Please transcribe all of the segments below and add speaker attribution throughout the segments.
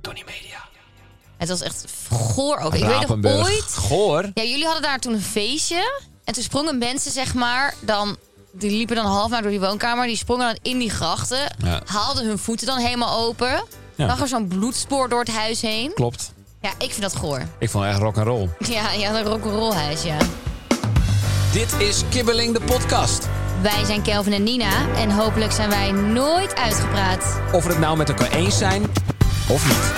Speaker 1: Tony Media.
Speaker 2: Het was echt goor ook. Ik weet nog
Speaker 1: Rapenburg.
Speaker 2: ooit...
Speaker 1: Goor.
Speaker 2: Ja, jullie hadden daar toen een feestje. En toen sprongen mensen, zeg maar, dan... Die liepen dan half naar door die woonkamer. Die sprongen dan in die grachten.
Speaker 1: Ja.
Speaker 2: Haalden hun voeten dan helemaal open.
Speaker 1: Ja.
Speaker 2: Lag er zo'n bloedspoor door het huis heen.
Speaker 1: Klopt.
Speaker 2: Ja, ik vind dat goor.
Speaker 1: Ik vond het echt rock and roll.
Speaker 2: Ja, ja een rock'n'roll huis, ja.
Speaker 1: Dit is Kibbeling de podcast.
Speaker 2: Wij zijn Kelvin en Nina. En hopelijk zijn wij nooit uitgepraat.
Speaker 1: Of we het nou met elkaar eens zijn of niet.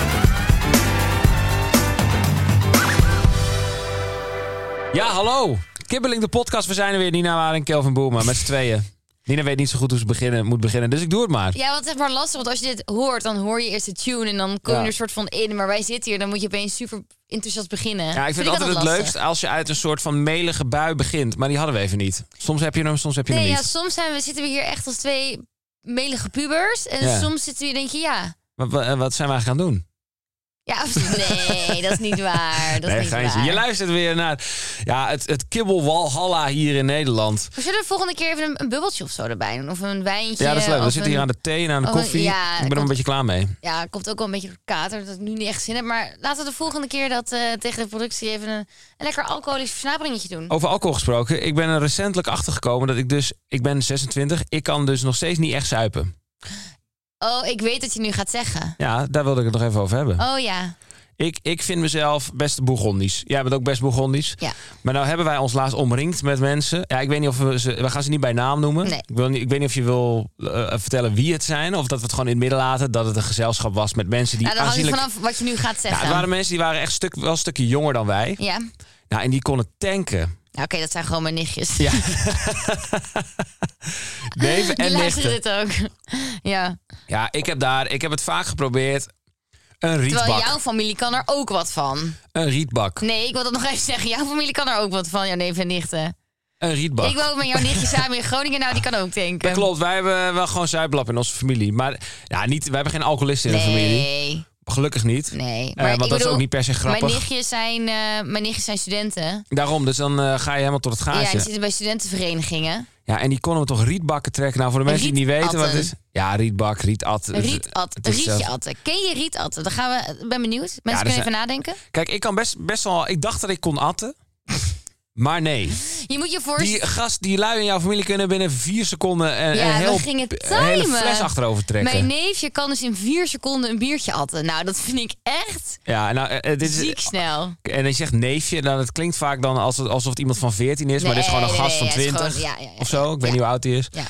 Speaker 1: Ja, hallo. Kibbeling de podcast. We zijn er weer. Nina Waar en Kelvin Boerma met z'n tweeën. Nina weet niet zo goed hoe ze beginnen, moet beginnen, dus ik doe het maar.
Speaker 2: Ja, wat is maar lastig. Want als je dit hoort, dan hoor je eerst de tune. En dan kom je
Speaker 1: Ja.
Speaker 2: er soort van in. Maar wij zitten hier, dan moet je opeens super enthousiast beginnen.
Speaker 1: Ja, ik vind, het altijd het
Speaker 2: lastig.
Speaker 1: leukst als je uit een soort van melige bui begint. Maar die hadden we even niet. Soms heb je hem, soms heb je hem
Speaker 2: Nee, ja,
Speaker 1: niet.
Speaker 2: soms zijn we, zitten we hier echt als twee melige pubers. En
Speaker 1: Ja.
Speaker 2: soms zitten we hier denk je, ja.
Speaker 1: Wat, wat- wat zijn wij gaan doen?
Speaker 2: Ja, of- nee, dat is niet waar. Dat is
Speaker 1: Nee,
Speaker 2: niet
Speaker 1: geintje.
Speaker 2: waar.
Speaker 1: Je luistert weer naar ja, het, het kibbelwalhalla hier in Nederland.
Speaker 2: We zullen de volgende keer even een, een bubbeltje of zo erbij doen. Of een wijntje.
Speaker 1: Ja, dat is leuk. We
Speaker 2: of
Speaker 1: zitten hier
Speaker 2: een-
Speaker 1: aan de thee en aan de
Speaker 2: of een-
Speaker 1: koffie.
Speaker 2: ja,
Speaker 1: ik ben er een
Speaker 2: komt-
Speaker 1: beetje klaar mee.
Speaker 2: Ja, het komt ook wel een beetje door de kater. Dat ik nu niet echt zin heb. Maar laten we de volgende keer dat eh, tegen de productie even een, een lekker alcoholisch versnaperingetje doen.
Speaker 1: Over alcohol gesproken. Ik ben er recentelijk achter gekomen dat ik dus... Ik ben 26. Ik kan dus nog steeds niet echt zuipen.
Speaker 2: Oh, ik weet dat je nu gaat zeggen.
Speaker 1: Ja, daar wilde ik het nog even over hebben.
Speaker 2: Oh ja.
Speaker 1: Ik, ik vind mezelf best bourgondisch. Jij bent ook best bourgondisch.
Speaker 2: Ja.
Speaker 1: Maar nou hebben wij ons laatst omringd met mensen. Ja, ik weet niet of we ze... We gaan ze niet bij naam noemen.
Speaker 2: Nee.
Speaker 1: Ik, wil niet, ik weet niet of je wil eh, vertellen wie het zijn. Of dat we het gewoon in het midden laten. Dat het een gezelschap was met mensen die
Speaker 2: Nou, dan hangt het
Speaker 1: aanzienlijk... Nou,
Speaker 2: vanaf wat je nu gaat
Speaker 1: Ja,
Speaker 2: zeggen.
Speaker 1: het waren mensen die waren echt stuk, wel een stukje jonger dan wij.
Speaker 2: Ja. Nou,
Speaker 1: Nou, en die konden tanken.
Speaker 2: Oké, dat zijn gewoon mijn nichtjes.
Speaker 1: Ja. Neven
Speaker 2: Die
Speaker 1: en
Speaker 2: luisteren
Speaker 1: nichten.
Speaker 2: dit ook. Ja.
Speaker 1: Ja, ik heb daar, ik heb het vaak geprobeerd. Een
Speaker 2: Terwijl
Speaker 1: rietbak.
Speaker 2: jouw familie kan er ook wat van.
Speaker 1: Een rietbak.
Speaker 2: Nee, ik wil dat nog even zeggen. Jouw familie kan er ook wat van, jouw neef en nichten.
Speaker 1: Een rietbak.
Speaker 2: Ik woon met jouw nichtje samen in Groningen. Nou, die kan ook denken.
Speaker 1: Dat klopt, wij hebben wel gewoon zuiplap in onze familie. Maar ja, niet, wij hebben geen alcoholisten in de familie.
Speaker 2: Nee,
Speaker 1: Gelukkig niet.
Speaker 2: nee.
Speaker 1: Eh, want
Speaker 2: ik
Speaker 1: dat is
Speaker 2: bedoel,
Speaker 1: ook niet per se
Speaker 2: Mijn
Speaker 1: grappig.
Speaker 2: nichtjes zijn, eh, mijn nichtjes zijn studenten.
Speaker 1: Daarom, dus dan eh, ga je helemaal tot het
Speaker 2: Ja,
Speaker 1: gaatje.
Speaker 2: die
Speaker 1: Ja,
Speaker 2: zitten bij studentenverenigingen.
Speaker 1: en die konden we toch rietbakken trekken? Nou, voor de mensen die niet weten wat het is.
Speaker 2: Rietatten.
Speaker 1: Ja, rietbak, rietat. Het-
Speaker 2: Rietat,
Speaker 1: Dus, eh, het is zelfs-
Speaker 2: rietje Ken je rietatten? Dan gaan we, ik ben benieuwd. Mensen
Speaker 1: Ja, er
Speaker 2: kunnen
Speaker 1: zijn-
Speaker 2: even nadenken.
Speaker 1: Kijk, ik kan best, best wel. Ik dacht dat ik kon atten. Maar nee.
Speaker 2: Je moet je voorstellen.
Speaker 1: Die gast, die lui in jouw familie kunnen binnen vier seconden een,
Speaker 2: Ja,
Speaker 1: een
Speaker 2: we
Speaker 1: heel,
Speaker 2: gingen
Speaker 1: een hele
Speaker 2: timen.
Speaker 1: fles achterover trekken.
Speaker 2: Mijn neefje kan dus in vier seconden een biertje atten. Nou, dat vind ik echt
Speaker 1: ja, nou, eh, eh, dit
Speaker 2: ziek
Speaker 1: is,
Speaker 2: snel.
Speaker 1: en hij zegt neefje, nou, dat klinkt vaak dan alsof, alsof het iemand van 14 is, maar dit is
Speaker 2: Nee,
Speaker 1: gewoon een
Speaker 2: nee,
Speaker 1: gast
Speaker 2: nee,
Speaker 1: van
Speaker 2: hij is
Speaker 1: 20
Speaker 2: gewoon- ja, ja, ja,
Speaker 1: of zo. Ik weet niet hoe oud hij is.
Speaker 2: Ja.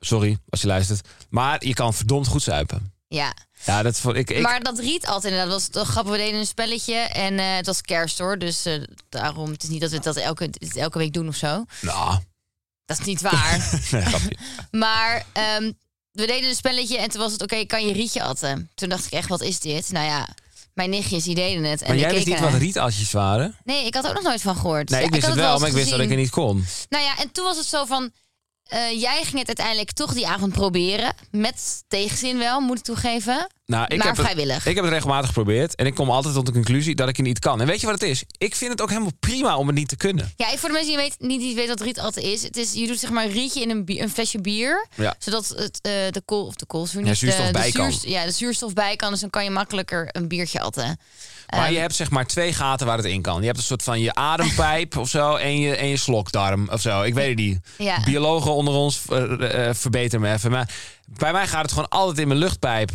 Speaker 1: Sorry als je luistert. Maar je kan verdomd goed zuipen.
Speaker 2: Ja.
Speaker 1: Ja, dat vond ik. ik
Speaker 2: Maar dat riet altijd inderdaad. Dat was toch grappig. We deden een spelletje en eh, het was kerst hoor. Dus eh, daarom, het is niet dat we dat elke, dit elke week doen of zo.
Speaker 1: nou,
Speaker 2: Dat is niet waar.
Speaker 1: nee, grapje.
Speaker 2: maar ehm, we deden een spelletje en toen was het oké, kan je rietje atten? Toen dacht ik echt, wat is dit? Nou ja, mijn nichtjes die deden het. En
Speaker 1: Maar
Speaker 2: ik
Speaker 1: jij wist
Speaker 2: keek
Speaker 1: niet
Speaker 2: ernaar.
Speaker 1: wat rietatjes waren?
Speaker 2: Nee, ik had er ook nog nooit van gehoord.
Speaker 1: Nee,
Speaker 2: Ja,
Speaker 1: ik wist
Speaker 2: had
Speaker 1: het wel,
Speaker 2: eens
Speaker 1: maar ik wist dat ik
Speaker 2: gezien.
Speaker 1: er niet kon.
Speaker 2: Nou ja, en toen was het zo van... eh, jij ging het uiteindelijk toch die avond proberen. Met tegenzin wel, moet ik toegeven.
Speaker 1: Nou, ik
Speaker 2: Maar
Speaker 1: heb
Speaker 2: vrijwillig.
Speaker 1: Het, ik heb het regelmatig geprobeerd en ik kom altijd tot de conclusie dat ik het niet kan. En weet je wat het is? Ik vind het ook helemaal prima om het niet te kunnen.
Speaker 2: Ja, en voor de mensen die weet, niet die weten wat riet altijd is. Het is, je doet zeg maar een rietje in een, bier- een flesje bier.
Speaker 1: Ja.
Speaker 2: Zodat het, eh, de kool of de koolzuur
Speaker 1: Ja,
Speaker 2: niet... eh,
Speaker 1: zuurstof
Speaker 2: de,
Speaker 1: bij
Speaker 2: de
Speaker 1: kan.
Speaker 2: ja, de zuurstof bij kan. Dus dan kan je makkelijker een biertje atten.
Speaker 1: Maar
Speaker 2: Ehm,
Speaker 1: je hebt zeg maar twee gaten waar het in kan. Je hebt een soort van je adempijp of zo en je, en je slokdarm of zo. Ik weet het niet.
Speaker 2: Ja.
Speaker 1: Biologen onder ons, eh, eh, verbeter me even. Maar bij mij gaat het gewoon altijd in mijn luchtpijp.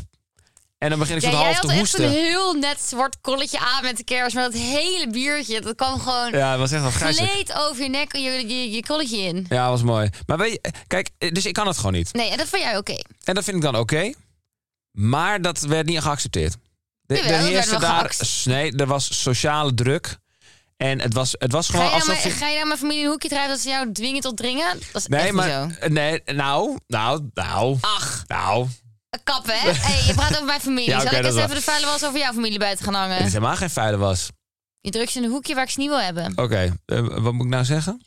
Speaker 1: En dan begin ik
Speaker 2: Ja,
Speaker 1: zo'n
Speaker 2: jij
Speaker 1: half
Speaker 2: had
Speaker 1: te
Speaker 2: echt een
Speaker 1: hoesten.
Speaker 2: heel net zwart kolletje aan met de kerst. Maar dat hele biertje, dat kwam gewoon...
Speaker 1: Ja, dat was echt wel grijselijk.
Speaker 2: gleed over je nek en je, je, je kolletje in.
Speaker 1: Ja, dat was mooi. Maar weet je, kijk, eh, dus ik kan het gewoon niet.
Speaker 2: Nee, en dat vond jij oké.
Speaker 1: En dat vind ik dan oké. maar dat werd niet geaccepteerd. De,
Speaker 2: Jawel, dat werd wel
Speaker 1: daar...
Speaker 2: geaccepteerd.
Speaker 1: Nee, er was sociale druk. En het was, het was
Speaker 2: Ga
Speaker 1: gewoon
Speaker 2: je, nou
Speaker 1: alsof...
Speaker 2: mijn,
Speaker 1: je-
Speaker 2: ga je nou mijn familie in een hoekje drijven dat ze jou dwingen tot dringen? Dat is
Speaker 1: Nee,
Speaker 2: echt
Speaker 1: maar...
Speaker 2: niet zo.
Speaker 1: Nee, nou, nou, nou...
Speaker 2: Ach,
Speaker 1: Nou,
Speaker 2: kappen, hè? Hey, je praat over mijn familie.
Speaker 1: Ja, oké,
Speaker 2: Zal ik
Speaker 1: dat
Speaker 2: eens
Speaker 1: is
Speaker 2: even de vuile was over jouw familie buiten gaan
Speaker 1: Het is
Speaker 2: hangen?
Speaker 1: helemaal geen vuile was.
Speaker 2: Je drukt ze in een hoekje waar ik ze niet wil hebben.
Speaker 1: Oké, eh, wat moet ik nou zeggen?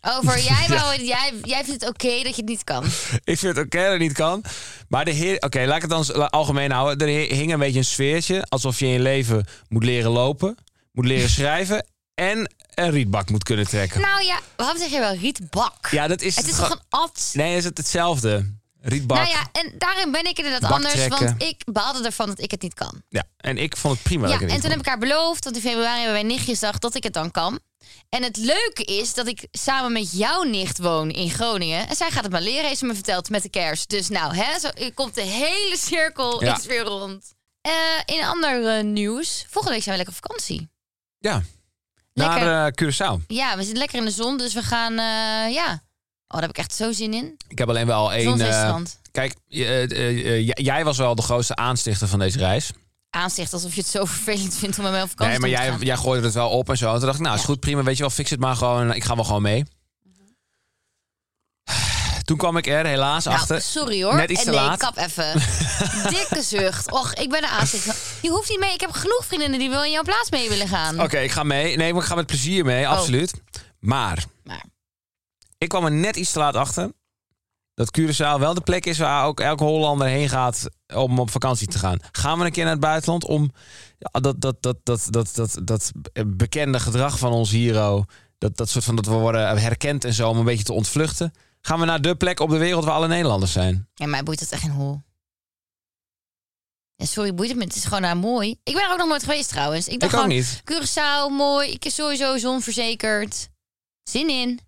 Speaker 2: Over, jij, wou, jij, jij vindt het oké dat je het niet kan.
Speaker 1: Ik vind het oké dat het niet kan. Maar de heer, oké, laat ik het dan s- la- algemeen houden. Er he- hing een beetje een sfeertje. Alsof je in je leven moet leren lopen, moet leren schrijven en een rietbak moet kunnen trekken.
Speaker 2: Nou ja, waarom zeg je wel rietbak?
Speaker 1: ja, dat is
Speaker 2: het is
Speaker 1: ge-
Speaker 2: toch een at?
Speaker 1: Nee, is het hetzelfde? Rietbak.
Speaker 2: Nou ja, en daarin ben ik inderdaad
Speaker 1: Bak
Speaker 2: anders,
Speaker 1: trekken.
Speaker 2: want ik baalde ervan dat ik het niet kan.
Speaker 1: Ja, en ik vond het prima.
Speaker 2: Ja,
Speaker 1: dat ik het
Speaker 2: en
Speaker 1: niet
Speaker 2: toen heb
Speaker 1: vond.
Speaker 2: ik haar beloofd, want in februari hebben wij nichtjesdag, dat ik het dan kan. En het leuke is dat ik samen met jouw nicht woon in Groningen. En zij gaat het maar leren, heeft ze me verteld, met de kerst. Dus nou, hè, zo komt de hele cirkel
Speaker 1: Ja.
Speaker 2: is weer rond. Eh, in ander eh, nieuws, volgende week zijn we lekker op vakantie.
Speaker 1: Ja.
Speaker 2: Lekker.
Speaker 1: Naar eh Curaçao.
Speaker 2: Ja, we zitten lekker in de zon, dus we gaan, eh, ja. Oh, daar heb ik echt zo zin in.
Speaker 1: Ik heb alleen wel één... eh,
Speaker 2: Zonzeestrand.
Speaker 1: kijk, je- eh, eh, eh, j- jij was wel de grootste aanstichter van deze reis.
Speaker 2: Aanzicht alsof je het zo vervelend vindt om met mij op vakantie
Speaker 1: eh, Nee, maar
Speaker 2: te
Speaker 1: jij,
Speaker 2: gaan.
Speaker 1: jij gooide het wel op en zo. En toen dacht ik, nou, is
Speaker 2: Ja.
Speaker 1: goed, prima. Weet je wel, fix het maar gewoon. Ik ga wel gewoon mee. Toen kwam ik er helaas
Speaker 2: Mhm. Nou,
Speaker 1: achter.
Speaker 2: sorry hoor.
Speaker 1: Net iets
Speaker 2: en
Speaker 1: te
Speaker 2: nee,
Speaker 1: laat.
Speaker 2: kap even. Dikke zucht. Och, ik ben de aanzicht. Je hoeft niet mee. Ik heb genoeg vriendinnen die wel in jouw plaats mee willen gaan.
Speaker 1: Oké, ik ga mee. Nee, maar ik ga met plezier mee, absoluut. Maar
Speaker 2: Oh. Maar
Speaker 1: ik kwam er net iets te laat achter. Dat Curaçao wel de plek is waar ook elke Hollander heen gaat om op vakantie te gaan. Gaan we een keer naar het buitenland om ja, dat, dat, dat, dat, dat, dat, dat bekende gedrag van ons hero, dat, dat soort van dat we worden herkend en zo, om een beetje te ontvluchten. Gaan we naar de plek op de wereld waar alle Nederlanders zijn?
Speaker 2: ja, mij boeit het echt geen hol. Ja, sorry, boeit het me. Het is gewoon nou, mooi. Ik ben er ook nog nooit geweest trouwens. Ik
Speaker 1: Ik ook
Speaker 2: dacht gewoon,
Speaker 1: niet.
Speaker 2: Curaçao, mooi. Ik is sowieso zonverzekerd. Zin in.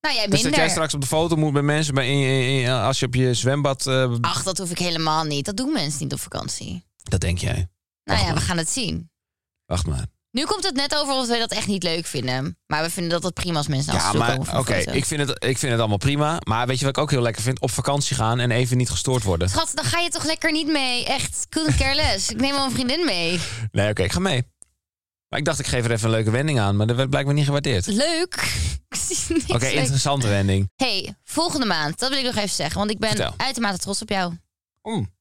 Speaker 2: Nou, jij
Speaker 1: Dus
Speaker 2: minder.
Speaker 1: dat jij straks op de foto moet met mensen bij, in, in- in- als je op je zwembad. eh,
Speaker 2: Ach, dat hoef ik helemaal niet. Dat doen mensen niet op vakantie.
Speaker 1: dat denk jij.
Speaker 2: Nou ja,
Speaker 1: maar.
Speaker 2: we gaan het zien.
Speaker 1: Wacht maar.
Speaker 2: Nu komt het net over of wij dat echt niet leuk vinden. Maar we vinden dat het prima als mensen
Speaker 1: Ja,
Speaker 2: afzoeken.
Speaker 1: maar
Speaker 2: over
Speaker 1: oké,
Speaker 2: een foto.
Speaker 1: ik, vind het- ik vind het allemaal prima. Maar weet je wat ik ook heel lekker vind? Op vakantie gaan en even niet gestoord worden.
Speaker 2: Schat, dan ga je toch lekker niet mee. Echt, couldn't care less. Ik neem wel een vriendin mee.
Speaker 1: Nee, oké, ik ga mee. Maar ik dacht, ik geef er even een leuke wending aan. Maar dat werd blijkbaar niet gewaardeerd. Oké,
Speaker 2: Leuk. Ik zie niks leuks.
Speaker 1: interessante wending.
Speaker 2: hey, volgende maand. Dat wil ik nog even zeggen. Want ik ben
Speaker 1: Vertel.
Speaker 2: uitermate trots op jou.
Speaker 1: Mm.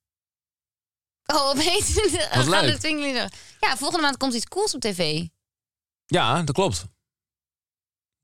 Speaker 2: Oh, opeens. we gaan
Speaker 1: leuk.
Speaker 2: de twinkeling door. Ja, volgende maand komt iets cools op tv.
Speaker 1: Ja, dat klopt.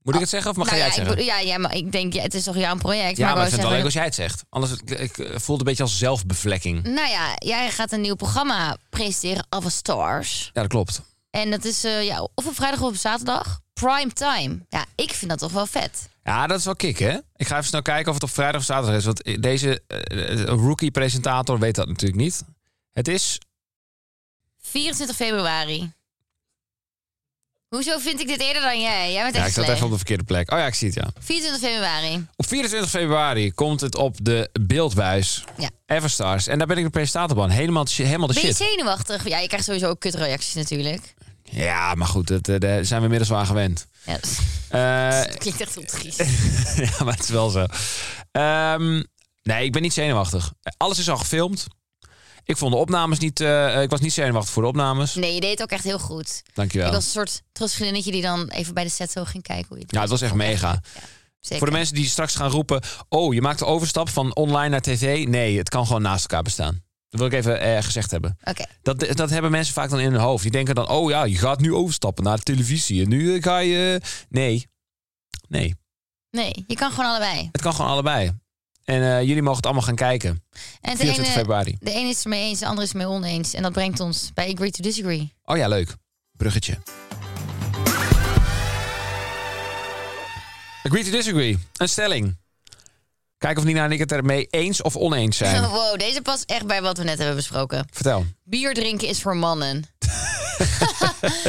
Speaker 1: Moet ik het zeggen of mag
Speaker 2: Nou
Speaker 1: jij
Speaker 2: ja,
Speaker 1: het
Speaker 2: ik,
Speaker 1: zeggen?
Speaker 2: bedoel- ja, ja, maar ik denk, ja, het is toch jouw project?
Speaker 1: ja,
Speaker 2: maar
Speaker 1: maar
Speaker 2: ik
Speaker 1: ik vind het
Speaker 2: wou
Speaker 1: wel leuk
Speaker 2: zeggen-
Speaker 1: als jij het zegt. Anders ik, ik, eh, voel het een beetje als zelfbevlekking.
Speaker 2: Nou ja, jij gaat een nieuw programma presenteren, Ava Stars.
Speaker 1: Ja, dat klopt.
Speaker 2: En dat is eh, ja, of op vrijdag of op zaterdag. Prime time. Ja, ik vind dat toch wel vet.
Speaker 1: Ja, dat is wel kick, hè? Ik ga even snel kijken of het op vrijdag of zaterdag is. Want deze eh, rookie-presentator weet dat natuurlijk niet. Het is
Speaker 2: 24 februari. Hoezo vind ik dit eerder dan jij? Jij bent
Speaker 1: Ja,
Speaker 2: echt
Speaker 1: ik zat
Speaker 2: slecht.
Speaker 1: even op de verkeerde plek. Oh ja, ik zie het, ja.
Speaker 2: 24 februari.
Speaker 1: Op 24 februari komt het op de beeldbuis
Speaker 2: Ja.
Speaker 1: Everstars. En daar ben ik de presentator van. Helemaal, de shi- helemaal de
Speaker 2: Ben je
Speaker 1: Oh, shit.
Speaker 2: zenuwachtig? Ja, je krijgt sowieso ook kutreacties natuurlijk.
Speaker 1: Ja, maar goed, dat, eh, daar zijn we inmiddels wel aan gewend.
Speaker 2: Ja, dat
Speaker 1: Eh,
Speaker 2: dat klinkt echt heel triest.
Speaker 1: ja, maar het is wel zo. Ehm, nee, ik ben niet zenuwachtig. Alles is al gefilmd. Ik vond de opnames niet... eh, ik was niet zenuwachtig voor de opnames.
Speaker 2: Nee, je deed het ook echt heel goed.
Speaker 1: Dankjewel.
Speaker 2: Ik was een soort trostvriendinnetje die dan even bij de set zo ging kijken hoe je het
Speaker 1: Ja, het was echt mega.
Speaker 2: Zeker.
Speaker 1: Voor de mensen die straks gaan roepen... Oh, je maakt de overstap van online naar tv. Nee, het kan gewoon naast elkaar bestaan. Dat wil ik even eh, gezegd hebben.
Speaker 2: Oké.
Speaker 1: Dat, dat hebben mensen vaak dan in hun hoofd. Die denken dan, oh ja, je gaat nu overstappen naar de televisie. En nu eh, ga je... Nee. Nee.
Speaker 2: Nee, je kan gewoon allebei.
Speaker 1: Het kan gewoon allebei. En eh, jullie mogen het allemaal gaan kijken.
Speaker 2: En de
Speaker 1: 24
Speaker 2: ene,
Speaker 1: februari.
Speaker 2: de ene is het ermee eens, de andere is het ermee oneens. En dat brengt ons bij Agree to Disagree.
Speaker 1: Oh ja, leuk. Bruggetje. Agree to disagree. Een stelling. Kijk of Nina en ik het ermee eens of oneens zijn.
Speaker 2: Wow, deze past echt bij wat we net hebben besproken.
Speaker 1: Vertel.
Speaker 2: Bier drinken is voor mannen.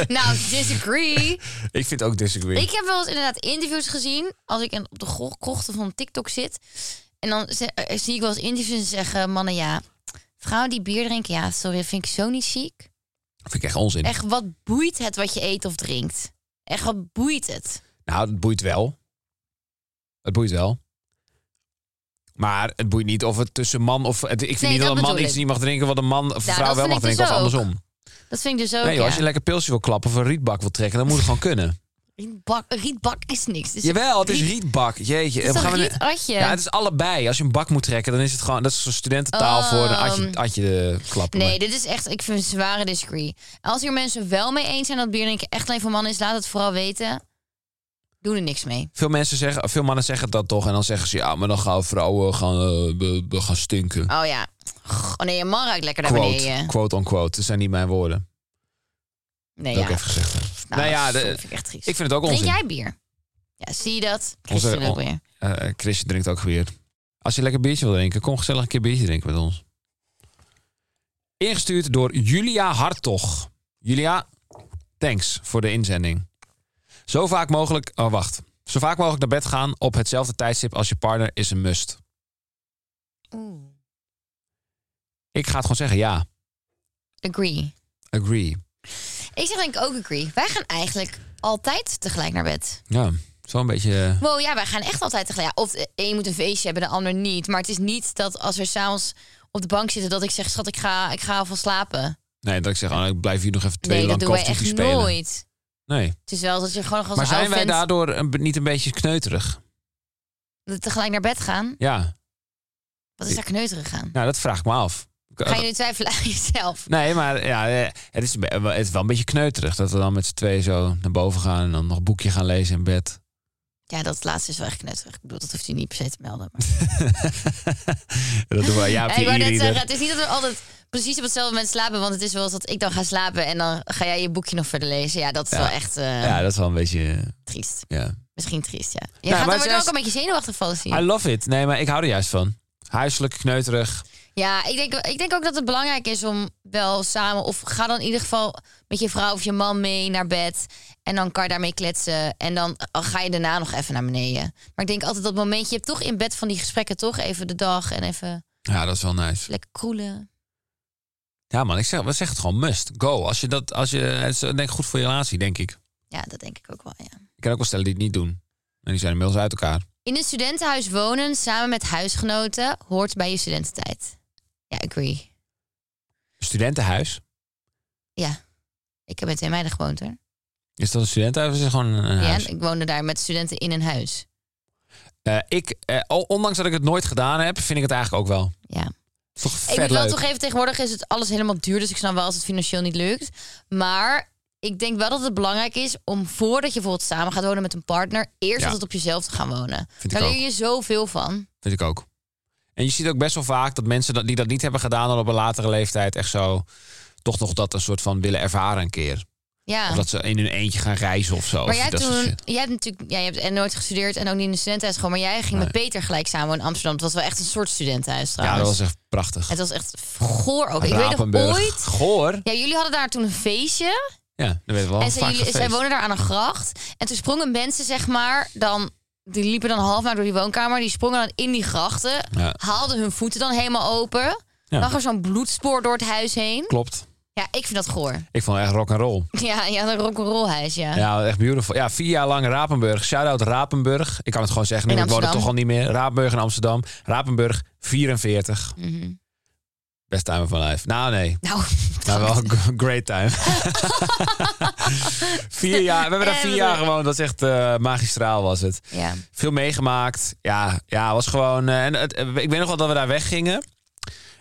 Speaker 2: nou, disagree.
Speaker 1: Ik vind ook disagree.
Speaker 2: Ik heb wel eens inderdaad interviews gezien. Als ik in- op de gro- krochten van TikTok zit. En dan ze- eh, zie ik wel eens interviews en zeggen mannen ja. Vrouwen die bier drinken, ja, sorry, dat vind ik zo niet ziek.
Speaker 1: vind ik echt onzin.
Speaker 2: Echt, wat boeit het wat je eet of drinkt? Echt, wat boeit het?
Speaker 1: Nou, het boeit wel. Het boeit wel. Maar het boeit niet of het tussen man of... het- ik vind
Speaker 2: Nee,
Speaker 1: niet
Speaker 2: dat
Speaker 1: dat een man
Speaker 2: bedoel
Speaker 1: iets
Speaker 2: ik.
Speaker 1: niet mag drinken... wat een man of een
Speaker 2: Nou,
Speaker 1: vrouw
Speaker 2: dat
Speaker 1: wel
Speaker 2: vind
Speaker 1: mag
Speaker 2: ik
Speaker 1: drinken
Speaker 2: dus
Speaker 1: of
Speaker 2: ook.
Speaker 1: andersom.
Speaker 2: Dat vind ik dus ook,
Speaker 1: nee, joh,
Speaker 2: ja.
Speaker 1: als je een lekker pilsje wil klappen of een rietbak wil trekken... dan moet het gewoon kunnen.
Speaker 2: Rietbak, rietbak is niks. Dus
Speaker 1: Jawel, het is
Speaker 2: riet-
Speaker 1: rietbak. Jeetje.
Speaker 2: Het is
Speaker 1: gaan
Speaker 2: toch
Speaker 1: we-
Speaker 2: rietatje?
Speaker 1: Ja, het is allebei. Als je een bak moet trekken, dan is het gewoon... Dat is zo'n studententaal voor een atje, atje de klappen.
Speaker 2: Oh. Nee, dit is echt, ik vind het een zware discree. Als hier mensen wel mee eens zijn dat bier drinken echt alleen voor mannen is, laat het vooral weten. Doe er niks mee.
Speaker 1: Veel mensen zeggen, veel mannen zeggen dat toch. En dan zeggen ze, ja, maar dan gaan vrouwen gaan, eh, be- be- gaan stinken.
Speaker 2: Oh ja. Goh, Oh nee, je man ruikt lekker naar
Speaker 1: Quote,
Speaker 2: beneden.
Speaker 1: quote unquote. Dat zijn niet mijn woorden.
Speaker 2: Nee,
Speaker 1: Dat
Speaker 2: ja.
Speaker 1: ik even gezegd heb.
Speaker 2: Nou,
Speaker 1: nou ja,
Speaker 2: dat
Speaker 1: de-
Speaker 2: vind ik echt triest.
Speaker 1: Ik vind het ook
Speaker 2: Drink
Speaker 1: onzin.
Speaker 2: jij bier? Ja, zie je dat? Christian
Speaker 1: Onze-
Speaker 2: ook weer.
Speaker 1: Eh, Chrisje drinkt ook weer. Als je lekker biertje wil drinken, kom gezellig een keer biertje drinken met ons. Ingestuurd door Julia Hartog. Julia, thanks voor de inzending. Zo vaak mogelijk... Oh, wacht. Zo vaak mogelijk naar bed gaan op hetzelfde tijdstip als je partner is een must. Ik ga het gewoon zeggen, ja.
Speaker 2: Agree.
Speaker 1: Agree.
Speaker 2: Ik zeg denk ik ook agree. Wij gaan eigenlijk altijd tegelijk naar bed.
Speaker 1: Ja, zo'n beetje... eh,
Speaker 2: Wow, ja, wij gaan echt altijd tegelijk. Ja, of de een moet een feestje hebben, de ander niet. Maar het is niet dat als we s'avonds op de bank zitten... dat ik zeg, schat, ik ga, ik ga van slapen.
Speaker 1: Nee, dat ik zeg, oh, ik blijf hier nog even twee
Speaker 2: Nee, dat
Speaker 1: lang
Speaker 2: doen wij
Speaker 1: Call of
Speaker 2: echt
Speaker 1: Duty spelen.
Speaker 2: nooit.
Speaker 1: Nee.
Speaker 2: Het is wel dat je gewoon nog als
Speaker 1: Maar zijn
Speaker 2: oude
Speaker 1: wij
Speaker 2: vent
Speaker 1: daardoor een, be- niet een beetje kneuterig?
Speaker 2: tegelijk naar bed gaan.
Speaker 1: Ja,
Speaker 2: Wat is daar kneuterig aan?
Speaker 1: nou dat vraag ik me af.
Speaker 2: Ga je nu twijfelen aan jezelf?
Speaker 1: Nee, maar ja, eh, het, is, be- wel- het is wel een beetje kneuterig dat we dan met z'n tweeën zo naar boven gaan en dan nog een boekje gaan lezen in bed.
Speaker 2: Ja, dat laatste is wel echt kneuterig. Ik bedoel, dat hoeft u niet per se te melden. Maar...
Speaker 1: dat doen we, ja, op
Speaker 2: Hey, ik wou
Speaker 1: je
Speaker 2: net zeggen,
Speaker 1: e-reader.
Speaker 2: het is niet dat we altijd precies op hetzelfde moment slapen. Want het is wel eens dat ik dan ga slapen en dan ga jij je boekje nog verder lezen. Ja, dat is
Speaker 1: Ja.
Speaker 2: wel echt eh,
Speaker 1: Ja, dat is wel een beetje, eh,
Speaker 2: triest.
Speaker 1: ja.
Speaker 2: Misschien triest, ja. Je
Speaker 1: Nou,
Speaker 2: gaat
Speaker 1: maar
Speaker 2: er
Speaker 1: zelfs-
Speaker 2: ook een beetje zenuwachtig van zien.
Speaker 1: I love it. Nee, maar ik hou er juist van. Huiselijk, kneuterig.
Speaker 2: Ja, ik denk, ik denk ook dat het belangrijk is om wel samen... of ga dan in ieder geval met je vrouw of je man mee naar bed... en dan kan je daarmee kletsen en dan eh, ga je daarna nog even naar beneden. Maar ik denk altijd dat momentje, je hebt toch in bed van die gesprekken... toch even de dag en even
Speaker 1: Ja, dat is wel nice.
Speaker 2: lekker kroelen.
Speaker 1: Ja man, ik zeg, we zeggen het gewoon must. Go. Als je dat, als je, het is denk ik goed voor je relatie, denk ik.
Speaker 2: Ja, dat denk ik ook wel, ja.
Speaker 1: Ik ken ook wel stellen die het niet doen. En die zijn inmiddels uit elkaar.
Speaker 2: In een studentenhuis wonen samen met huisgenoten hoort bij je studententijd. Ja, agree.
Speaker 1: Studentenhuis?
Speaker 2: Ja. Ik heb met twee meiden gewoond hoor.
Speaker 1: Is dat een studentenhuis of is het gewoon een
Speaker 2: Ja,
Speaker 1: huis?
Speaker 2: ik woonde daar met studenten in een huis.
Speaker 1: Eh, ik, eh, o- ondanks dat ik het nooit gedaan heb, vind ik het eigenlijk ook wel.
Speaker 2: Ja.
Speaker 1: Is Toch vet
Speaker 2: ik moet wel
Speaker 1: leuk.
Speaker 2: toegeven, tegenwoordig is het alles helemaal duur. Dus ik snap wel als het financieel niet lukt. Maar ik denk wel dat het belangrijk is om voordat je bijvoorbeeld samen gaat wonen met een partner... eerst
Speaker 1: Ja.
Speaker 2: altijd op jezelf te gaan wonen.
Speaker 1: Vind ik
Speaker 2: daar
Speaker 1: ook.
Speaker 2: leer je zoveel van.
Speaker 1: Vind ik ook. En je ziet ook best wel vaak dat mensen dat, die dat niet hebben gedaan... dan op een latere leeftijd echt zo... toch nog dat een soort van willen ervaren een keer.
Speaker 2: Ja.
Speaker 1: Of dat ze in hun eentje gaan reizen of zo.
Speaker 2: Maar
Speaker 1: Of
Speaker 2: jij hebt,
Speaker 1: dat soort
Speaker 2: toen,
Speaker 1: shit.
Speaker 2: jij hebt natuurlijk jij hebt en nooit gestudeerd en ook niet in een studentenhuis gewoon. Maar jij ging met Peter gelijk samen in Amsterdam. Het was wel echt een soort studentenhuis
Speaker 1: Ja,
Speaker 2: trouwens.
Speaker 1: dat was echt prachtig.
Speaker 2: Het was echt goor ook. Ik weet nog
Speaker 1: Rapenburg.
Speaker 2: ooit...
Speaker 1: Goor.
Speaker 2: Ja, jullie hadden daar toen een feestje.
Speaker 1: Ja, dat weten we wel.
Speaker 2: en
Speaker 1: vaak
Speaker 2: zij, jullie, zij
Speaker 1: gefeest.
Speaker 2: wonen daar aan een gracht. En toen sprongen mensen, zeg maar, dan... Die liepen dan half naar door die woonkamer. Die sprongen dan in die grachten.
Speaker 1: Ja.
Speaker 2: Haalden hun voeten dan helemaal open.
Speaker 1: Ja.
Speaker 2: Lag er zo'n bloedspoor door het huis heen.
Speaker 1: Klopt.
Speaker 2: Ja, ik vind dat goor.
Speaker 1: Ik vond het echt rock and roll.
Speaker 2: Ja, ja een rock'n'roll huis, ja.
Speaker 1: Ja, echt beautiful. Ja, vier jaar lang Rapenburg. Shout-out Rapenburg. Ik kan het gewoon zeggen. Nu,
Speaker 2: In
Speaker 1: ik woon er
Speaker 2: Amsterdam.
Speaker 1: toch al niet meer. Rapenburg in Amsterdam. Rapenburg 44.
Speaker 2: Mhm.
Speaker 1: Best time of my life. Nou, nee.
Speaker 2: Nou,
Speaker 1: Nou, wel een g- great time. vier jaar. We hebben daar vier jaar gewoon. Dat is echt eh, magistraal was het.
Speaker 2: ja.
Speaker 1: Veel meegemaakt. Ja, ja was gewoon... eh, en het, eh, ik weet nog wel dat we daar weggingen.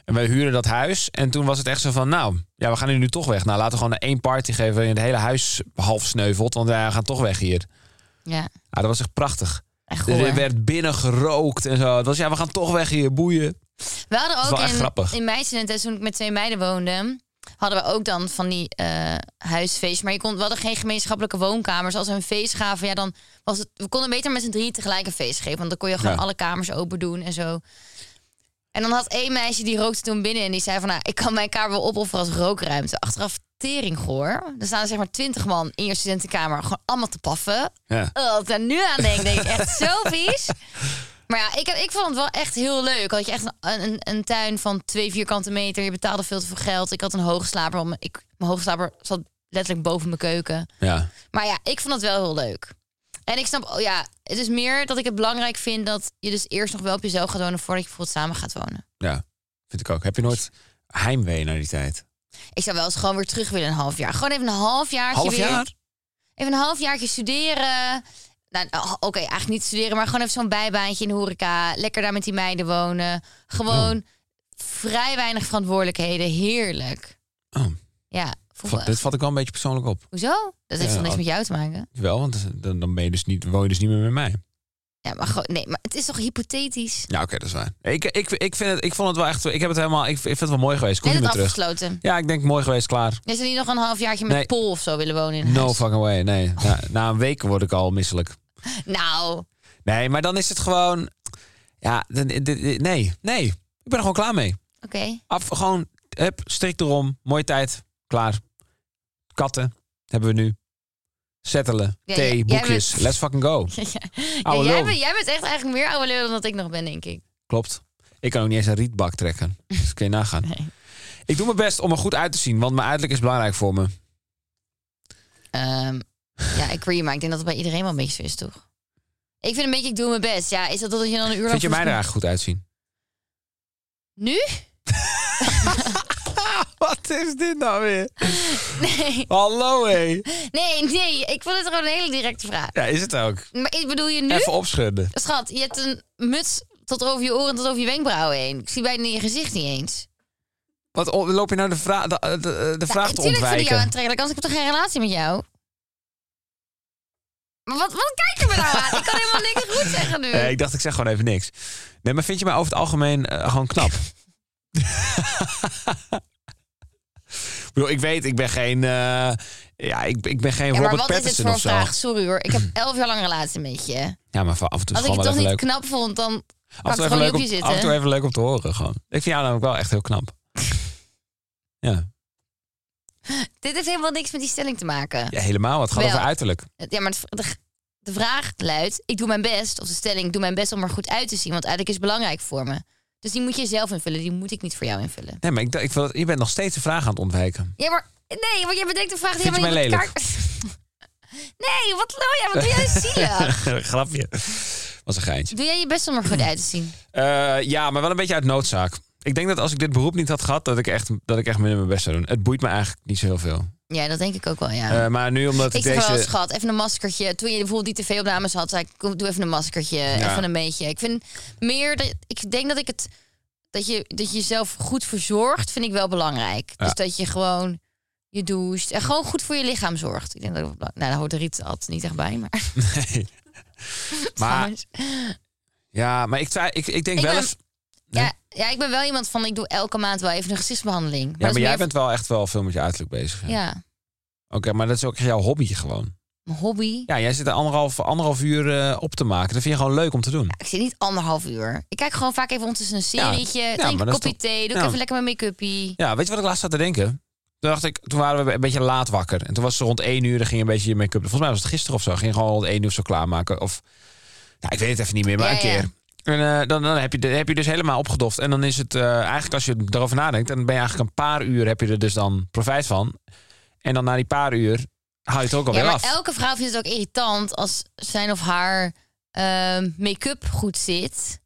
Speaker 1: En we huurden dat huis. En toen was het echt zo van... Nou, ja, we gaan hier nu toch weg. Nou, laten we gewoon één party geven... waarin het hele huis half sneuvelt. Want ja, we gaan toch weg hier.
Speaker 2: ja.
Speaker 1: Ja, dat was echt prachtig.
Speaker 2: Echt goor.
Speaker 1: Er werd binnen gerookt en zo. Het was ja, we gaan toch weg hier, boeien.
Speaker 2: We hadden
Speaker 1: is
Speaker 2: ook
Speaker 1: wel echt
Speaker 2: in,
Speaker 1: grappig.
Speaker 2: in mijn studenten, toen ik met twee meiden woonde, hadden we ook dan van die eh huisfeest. Maar je kon, we hadden geen gemeenschappelijke woonkamers. Als we een feest gaven, ja, dan was het. We konden beter met z'n drie tegelijk een feest geven. Want dan kon je gewoon
Speaker 1: Ja.
Speaker 2: alle kamers open doen en zo. En dan had één meisje die rookte toen binnen en die zei van nou, ik kan mijn kamer wel opofferen als rookruimte. Achteraf teringgoor. Er staan er zeg maar twintig man in je studentenkamer gewoon allemaal te paffen.
Speaker 1: Ja.
Speaker 2: Oh, als ik daar nu aan denk, denk ik echt zo vies. Maar ja, ik, heb, ik vond het wel echt heel leuk. Had je echt een, een, een tuin van twee vierkante meter. Je betaalde veel te veel geld. Ik had een hoogslaper. want Ik, mijn hoogslaper zat letterlijk boven mijn keuken.
Speaker 1: Ja.
Speaker 2: Maar ja, ik vond het wel heel leuk. En ik snap, oh ja, het is meer dat ik het belangrijk vind dat je dus eerst nog wel op jezelf gaat wonen voordat je bijvoorbeeld samen gaat wonen.
Speaker 1: ja, vind ik ook. Heb je nooit heimwee naar die tijd?
Speaker 2: Ik zou wel eens gewoon weer terug willen een half jaar. Gewoon even een half jaar.
Speaker 1: Half jaar?
Speaker 2: Even een halfjaartje studeren. Nou, oh, Oké, eigenlijk niet studeren, maar gewoon even zo'n bijbaantje in de horeca. Lekker daar met die meiden wonen. Gewoon
Speaker 1: Oh.
Speaker 2: vrij weinig verantwoordelijkheden. Heerlijk.
Speaker 1: Oh,
Speaker 2: Ja, voel
Speaker 1: va-
Speaker 2: me-
Speaker 1: dit vat ik wel een beetje persoonlijk op.
Speaker 2: Hoezo? Dat heeft
Speaker 1: Ja, oh.
Speaker 2: toch niks
Speaker 1: al-
Speaker 2: met jou te maken?
Speaker 1: Wel, want dan, dan ben je dus niet, woon je dus niet meer met mij.
Speaker 2: Ja, maar gewoon, nee, maar het is toch hypothetisch?
Speaker 1: Ja, oké, dat is waar. Ik, ik, ik, vind het, ik vond het wel echt... Ik, heb het helemaal, ik, ik vind het wel mooi geweest. Kom
Speaker 2: Net
Speaker 1: niet
Speaker 2: het
Speaker 1: meer terug.
Speaker 2: afgesloten.
Speaker 1: Ja, ik denk mooi geweest, klaar.
Speaker 2: Is er niet nog een halfjaartje met
Speaker 1: Nee.
Speaker 2: Paul of zo willen wonen in
Speaker 1: No
Speaker 2: huis?
Speaker 1: fucking way, nee. Na, na een week word ik al misselijk.
Speaker 2: Nou,
Speaker 1: Nee, maar dan is het gewoon... Ja, dan- dit- dit- nee, nee. Ik ben er gewoon klaar mee.
Speaker 2: oké.
Speaker 1: Af, gewoon, heb strik erom. Mooie tijd, klaar. Katten hebben we nu. Settelen,
Speaker 2: Ja,
Speaker 1: thee,
Speaker 2: ja, jij
Speaker 1: boekjes.
Speaker 2: bent-
Speaker 1: Let's fucking go.
Speaker 2: Ja,
Speaker 1: Oude
Speaker 2: jij,
Speaker 1: lul.
Speaker 2: bent, jij bent echt eigenlijk meer oude lul dan dat ik nog ben, denk ik.
Speaker 1: Klopt. Ik kan ook niet eens een rietbak trekken. Dus kun je nagaan.
Speaker 2: Nee.
Speaker 1: Ik doe mijn best om er goed uit te zien, want mijn uiterlijk is belangrijk voor me.
Speaker 2: Ehm, ja, ik agree, maar ik denk dat het bij iedereen wel een beetje zo is, toch? Ik vind een beetje, ik doe mijn best. Ja, is dat dat je dan een uur lang...
Speaker 1: Vind je mij
Speaker 2: voor-
Speaker 1: er eigenlijk goed uitzien?
Speaker 2: Nu?
Speaker 1: Wat is dit nou weer?
Speaker 2: Nee,
Speaker 1: Hallo hé.
Speaker 2: nee, nee. Ik vond het gewoon een hele directe vraag.
Speaker 1: Ja, is het ook.
Speaker 2: Maar ik bedoel je nu?
Speaker 1: Even opschudden.
Speaker 2: Schat, je hebt een muts tot over je oren, tot over je wenkbrauwen heen. Ik zie bijna je gezicht niet eens.
Speaker 1: Wat o- loop je nou de, vra- de, de, de vraag te
Speaker 2: Natuurlijk vind ik jou
Speaker 1: ontwijken?
Speaker 2: aantrekkelijk, anders heb ik toch geen relatie met jou? Maar wat, wat kijk je me nou aan? Ik kan helemaal niks goed zeggen nu.
Speaker 1: Eh, ik dacht, ik zeg gewoon even niks. Nee, maar vind je mij over het algemeen eh, gewoon knap? ik bedoel, ik weet, ik ben geen... eh, ja, ik, ik ben geen
Speaker 2: ja, maar
Speaker 1: Robert
Speaker 2: wat is dit
Speaker 1: Pattinson
Speaker 2: voor een
Speaker 1: of zo.
Speaker 2: vraag? Sorry hoor, ik heb elf jaar lang een relatie met je.
Speaker 1: Ja, maar af en toe is
Speaker 2: Als ik het
Speaker 1: gewoon wel
Speaker 2: toch
Speaker 1: even
Speaker 2: niet
Speaker 1: leuk.
Speaker 2: knap vond, dan kan
Speaker 1: Af
Speaker 2: ik
Speaker 1: en, toe
Speaker 2: toch
Speaker 1: even
Speaker 2: een
Speaker 1: leuk om,
Speaker 2: loopje zitten.
Speaker 1: af en toe even leuk om te horen gewoon. Ik vind jou namelijk wel echt heel knap. Ja,
Speaker 2: Dit heeft helemaal niks met die stelling te maken.
Speaker 1: ja helemaal. Het gaat
Speaker 2: Wel.
Speaker 1: over uiterlijk.
Speaker 2: Ja, maar de, de- de vraag luidt: ik doe mijn best, of de stelling, ik doe mijn best om er goed uit te zien, want eigenlijk is belangrijk voor me. Dus die moet je zelf invullen, die moet ik niet voor jou invullen.
Speaker 1: Nee, maar ik, dacht- ik wil, dat- je bent nog steeds de vraag aan het ontwijken.
Speaker 2: Ja, maar nee, want jij bedenkt een vraag die
Speaker 1: Vind je
Speaker 2: helemaal niet
Speaker 1: mij
Speaker 2: met elkaar- Nee, wat lul jij? Wat doe jij zielig?
Speaker 1: Grapje. Was een geintje.
Speaker 2: Doe jij je best om er goed uit te zien?
Speaker 1: Eh, ja, maar wel een beetje uit noodzaak. Ik denk dat als ik dit beroep niet had gehad, dat ik echt, dat ik echt minder mijn best zou doen. Het boeit me eigenlijk niet zo heel veel.
Speaker 2: Ja, dat denk ik ook wel, ja.
Speaker 1: Eh, maar nu omdat ik,
Speaker 2: ik zeg wel,
Speaker 1: deze...
Speaker 2: schat, even een maskertje. Toen je bijvoorbeeld die tv-opnames had, zei ik, kom, doe even een maskertje, even een beetje. Ik vind meer, dat, ik denk dat ik het, dat je, dat je jezelf goed verzorgt, vind ik wel belangrijk.
Speaker 1: Ja.
Speaker 2: Dus dat je gewoon je doucht en gewoon goed voor je lichaam zorgt. Ik denk dat, dat belang- nou, daar hoort de riet altijd niet echt bij, maar.
Speaker 1: Nee. maar
Speaker 2: trouwens.
Speaker 1: ja, maar ik, twi- ik, ik denk
Speaker 2: Ik
Speaker 1: wel
Speaker 2: ben-
Speaker 1: eens...
Speaker 2: ja, ja, ik ben wel iemand van, ik doe elke maand wel even een gezichtsbehandeling.
Speaker 1: Ja,
Speaker 2: dat
Speaker 1: maar
Speaker 2: is
Speaker 1: jij
Speaker 2: meer-
Speaker 1: bent wel echt wel veel met je uiterlijk bezig. hè?
Speaker 2: Ja,
Speaker 1: Oké, maar dat is ook jouw hobby gewoon.
Speaker 2: mijn hobby.
Speaker 1: Ja, jij zit er anderhalf, anderhalf uur eh, op te maken. Dat vind je gewoon leuk om te doen.
Speaker 2: Ik zit niet anderhalf uur. Ik kijk gewoon vaak even ondertussen een
Speaker 1: Ja.
Speaker 2: serietje,
Speaker 1: Ja,
Speaker 2: drink
Speaker 1: maar
Speaker 2: een
Speaker 1: dat is
Speaker 2: kopje thee, doe ik
Speaker 1: Ja.
Speaker 2: even lekker mijn make-upie.
Speaker 1: Ja, weet je wat ik laatst zat te denken? Toen dacht ik, toen waren we een beetje laat wakker. En toen was het rond één uur, dan ging je een beetje je make-up. Volgens mij was het gisteren of zo. Ging je gewoon rond één uur of zo klaarmaken. Of, ja, ik weet het even niet meer, maar
Speaker 2: Ja,
Speaker 1: een keer.
Speaker 2: ja.
Speaker 1: En eh, dan, dan heb, je, de- heb je dus helemaal opgedoft. En dan is het eh, eigenlijk, als je erover nadenkt, dan ben je eigenlijk een paar uur, heb je er dus dan profijt van. En dan na die paar uur haal je het ook
Speaker 2: Ja,
Speaker 1: alweer
Speaker 2: maar
Speaker 1: af.
Speaker 2: elke vrouw vindt het ook irritant als zijn of haar ehm, make-up goed zit.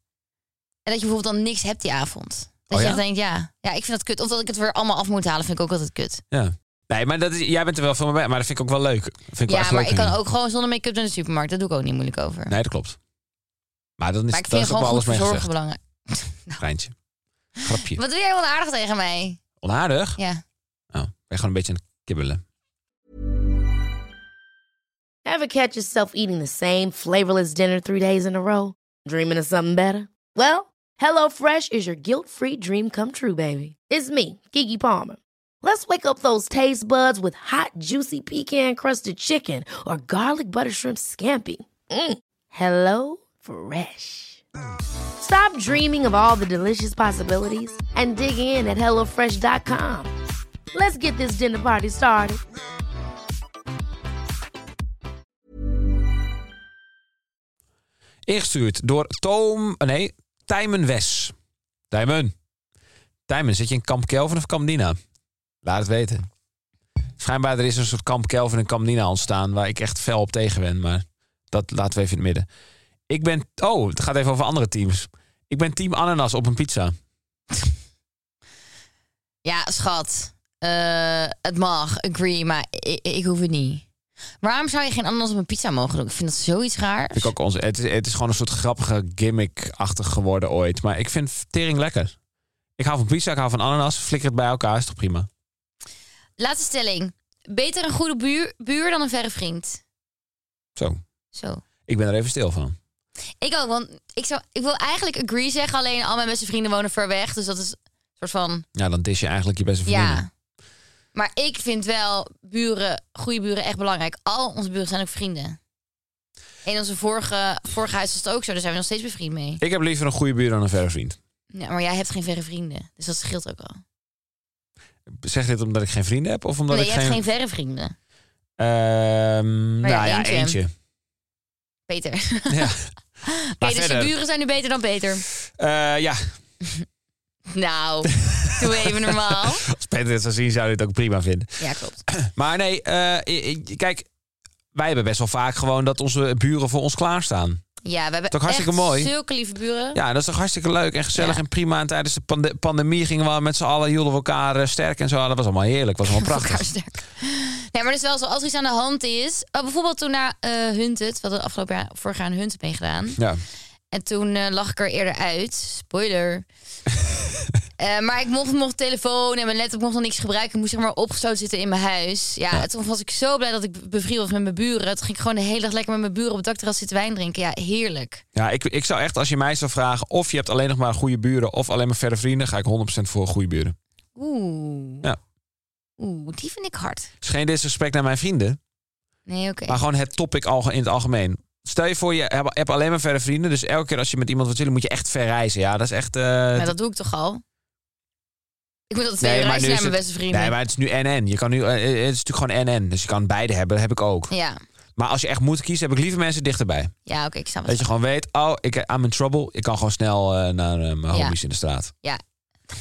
Speaker 2: En dat je bijvoorbeeld dan niks hebt die avond. Dat
Speaker 1: Oh
Speaker 2: je
Speaker 1: ja?
Speaker 2: echt denkt, ja, ja, ik vind dat kut. Of dat ik het weer allemaal af moet halen, vind ik ook altijd kut.
Speaker 1: Ja. Nee, maar dat is, jij bent er wel veel mee bij. Maar dat vind ik ook wel leuk. Dat Vind ik wel
Speaker 2: ja,
Speaker 1: echt
Speaker 2: maar
Speaker 1: leuk
Speaker 2: ik
Speaker 1: aan
Speaker 2: kan
Speaker 1: je.
Speaker 2: ook gewoon zonder make-up naar de supermarkt. Daar doe ik ook niet moeilijk over.
Speaker 1: Nee, dat klopt. Maar dan is,
Speaker 2: maar ik
Speaker 1: daar
Speaker 2: vind
Speaker 1: is ook
Speaker 2: gewoon
Speaker 1: wel
Speaker 2: goed
Speaker 1: alles mee
Speaker 2: verzorgen
Speaker 1: gezegd.
Speaker 2: belangrijk.
Speaker 1: Rijntje. Grapje.
Speaker 2: Wat doe jij onaardig tegen mij?
Speaker 1: Onaardig?
Speaker 2: Ja.
Speaker 1: Oh, ik ben gewoon een beetje aan het kibbelen.
Speaker 3: Ever catch yourself eating the same flavorless dinner three days in a row? Dreaming of something better? Well, HelloFresh is your guilt free dream come true, baby. It's me, Kiki Palmer. Let's wake up those taste buds with hot, juicy pecan crusted chicken or garlic butter shrimp scampi. Mm. Hello Fresh. Stop dreaming of all the delicious possibilities and dig in at HelloFresh.com. Let's get this dinner party started.
Speaker 1: Ingestuurd door Toom... eh, Nee, Tijmen Wes. Tijmen. Tijmen, zit je in kamp Kelvin of kamp Nina? Laat het weten. Schijnbaar er is een soort kamp Kelvin en kamp Nina ontstaan... waar ik echt fel op tegen ben, maar dat laten we even in het midden. Ik ben... Oh, het gaat even over andere teams. Ik ben team ananas op een pizza.
Speaker 2: Ja, schat. Eh, het mag, agree, maar ik, ik hoef het niet. Waarom zou je geen ananas op een pizza mogen doen? Ik vind dat zoiets raar.
Speaker 1: Vind ik ook onze, het, is, het is gewoon een soort grappige gimmick-achtig geworden ooit. Maar ik vind tering lekker. Ik hou van pizza, ik hou van ananas. Flikker het bij elkaar, is toch prima?
Speaker 2: Laatste stelling. Beter een goede buur, buur dan een verre vriend.
Speaker 1: Zo.
Speaker 2: Zo.
Speaker 1: Ik ben er even stil van.
Speaker 2: Ik ook, want ik, zou, ik wil eigenlijk agree zeggen. Alleen al mijn beste vrienden wonen ver weg. Dus dat is een soort van...
Speaker 1: Ja, dan dis je eigenlijk je beste vriendin.
Speaker 2: Ja. Maar ik vind wel buren, goede buren echt belangrijk. Al onze buren zijn ook vrienden. In onze vorige, vorige huis was het ook zo. Daar zijn we nog steeds bevriend mee.
Speaker 1: Ik heb liever een goede buur dan een verre vriend.
Speaker 2: Ja, maar jij hebt geen verre vrienden. Dus dat scheelt ook wel.
Speaker 1: Zeg dit omdat ik geen vrienden heb of omdat
Speaker 2: nee,
Speaker 1: ik
Speaker 2: je
Speaker 1: geen...
Speaker 2: hebt geen verre vrienden.
Speaker 1: Ehm,
Speaker 2: Maar ja,
Speaker 1: nou ja,
Speaker 2: eentje.
Speaker 1: eentje.
Speaker 2: Peter. Oké,
Speaker 1: Ja. Maar
Speaker 2: dus je
Speaker 1: verder,
Speaker 2: buren zijn nu beter dan Peter.
Speaker 1: eh, ja,
Speaker 2: Nou, doe even normaal.
Speaker 1: als Peter dit zou zien, zou hij het ook prima vinden.
Speaker 2: Ja, klopt.
Speaker 1: Maar nee, eh, i- i- kijk, wij hebben best wel vaak gewoon dat onze buren voor ons klaarstaan.
Speaker 2: Ja, we hebben
Speaker 1: Toch hartstikke
Speaker 2: echt
Speaker 1: mooi?
Speaker 2: zulke lieve buren.
Speaker 1: Ja, dat is toch hartstikke leuk en gezellig
Speaker 2: Ja.
Speaker 1: en prima. En tijdens de pande- pandemie gingen we met z'n allen, hielden we elkaar eh, sterk en zo. Dat was allemaal heerlijk, was allemaal
Speaker 2: Elkaar
Speaker 1: prachtig.
Speaker 2: sterk. Nee, maar het is wel zo, als er iets aan de hand is... Oh, bijvoorbeeld toen naar eh Hunted, we hadden afgelopen jaar, vorig jaar een Hunted meegedaan.
Speaker 1: Ja.
Speaker 2: En toen eh, lag ik er eerder uit. Spoiler. Eh, maar ik mocht nog telefoon en mijn laptop mocht nog niks gebruiken. Ik moest zeg maar opgesloten zitten in mijn huis. Ja,
Speaker 1: Ja.
Speaker 2: toen was ik zo blij dat ik be- bevriend was met mijn buren. Toen ging ik gewoon de hele dag lekker met mijn buren op het dakterras zitten wijn drinken. Ja, heerlijk.
Speaker 1: Ja, ik, ik zou echt, als je mij zou vragen of je hebt alleen nog maar goede buren of alleen maar verre vrienden, ga ik 100% voor goede buren.
Speaker 2: Oeh.
Speaker 1: Ja.
Speaker 2: Oeh, die vind ik hard.
Speaker 1: Het is geen disrespect naar mijn vrienden,
Speaker 2: Nee, oké.
Speaker 1: maar gewoon het topic al, in het algemeen. Stel je voor, je hebt hebt alleen maar verre vrienden, dus elke keer als je met iemand wilt chillen, moet je echt ver reizen. Ja, dat is echt... eh,
Speaker 2: Maar dat doe ik toch al? Ik moet altijd
Speaker 1: Nee,
Speaker 2: twee
Speaker 1: maar
Speaker 2: reizen
Speaker 1: nu
Speaker 2: naar
Speaker 1: is
Speaker 2: mijn beste vrienden.
Speaker 1: Nee, maar het is nu NN. Je kan nu, eh, eh, het is natuurlijk gewoon NN, dus je kan beide hebben, dat heb ik ook.
Speaker 2: Ja,
Speaker 1: Maar als je echt moet kiezen, heb ik liever mensen dichterbij.
Speaker 2: ja oké, ik snap het.
Speaker 1: Dat je gewoon weet, oh, ik, I'm in trouble. Ik kan gewoon snel eh, naar eh, mijn
Speaker 2: Ja.
Speaker 1: homies in de straat.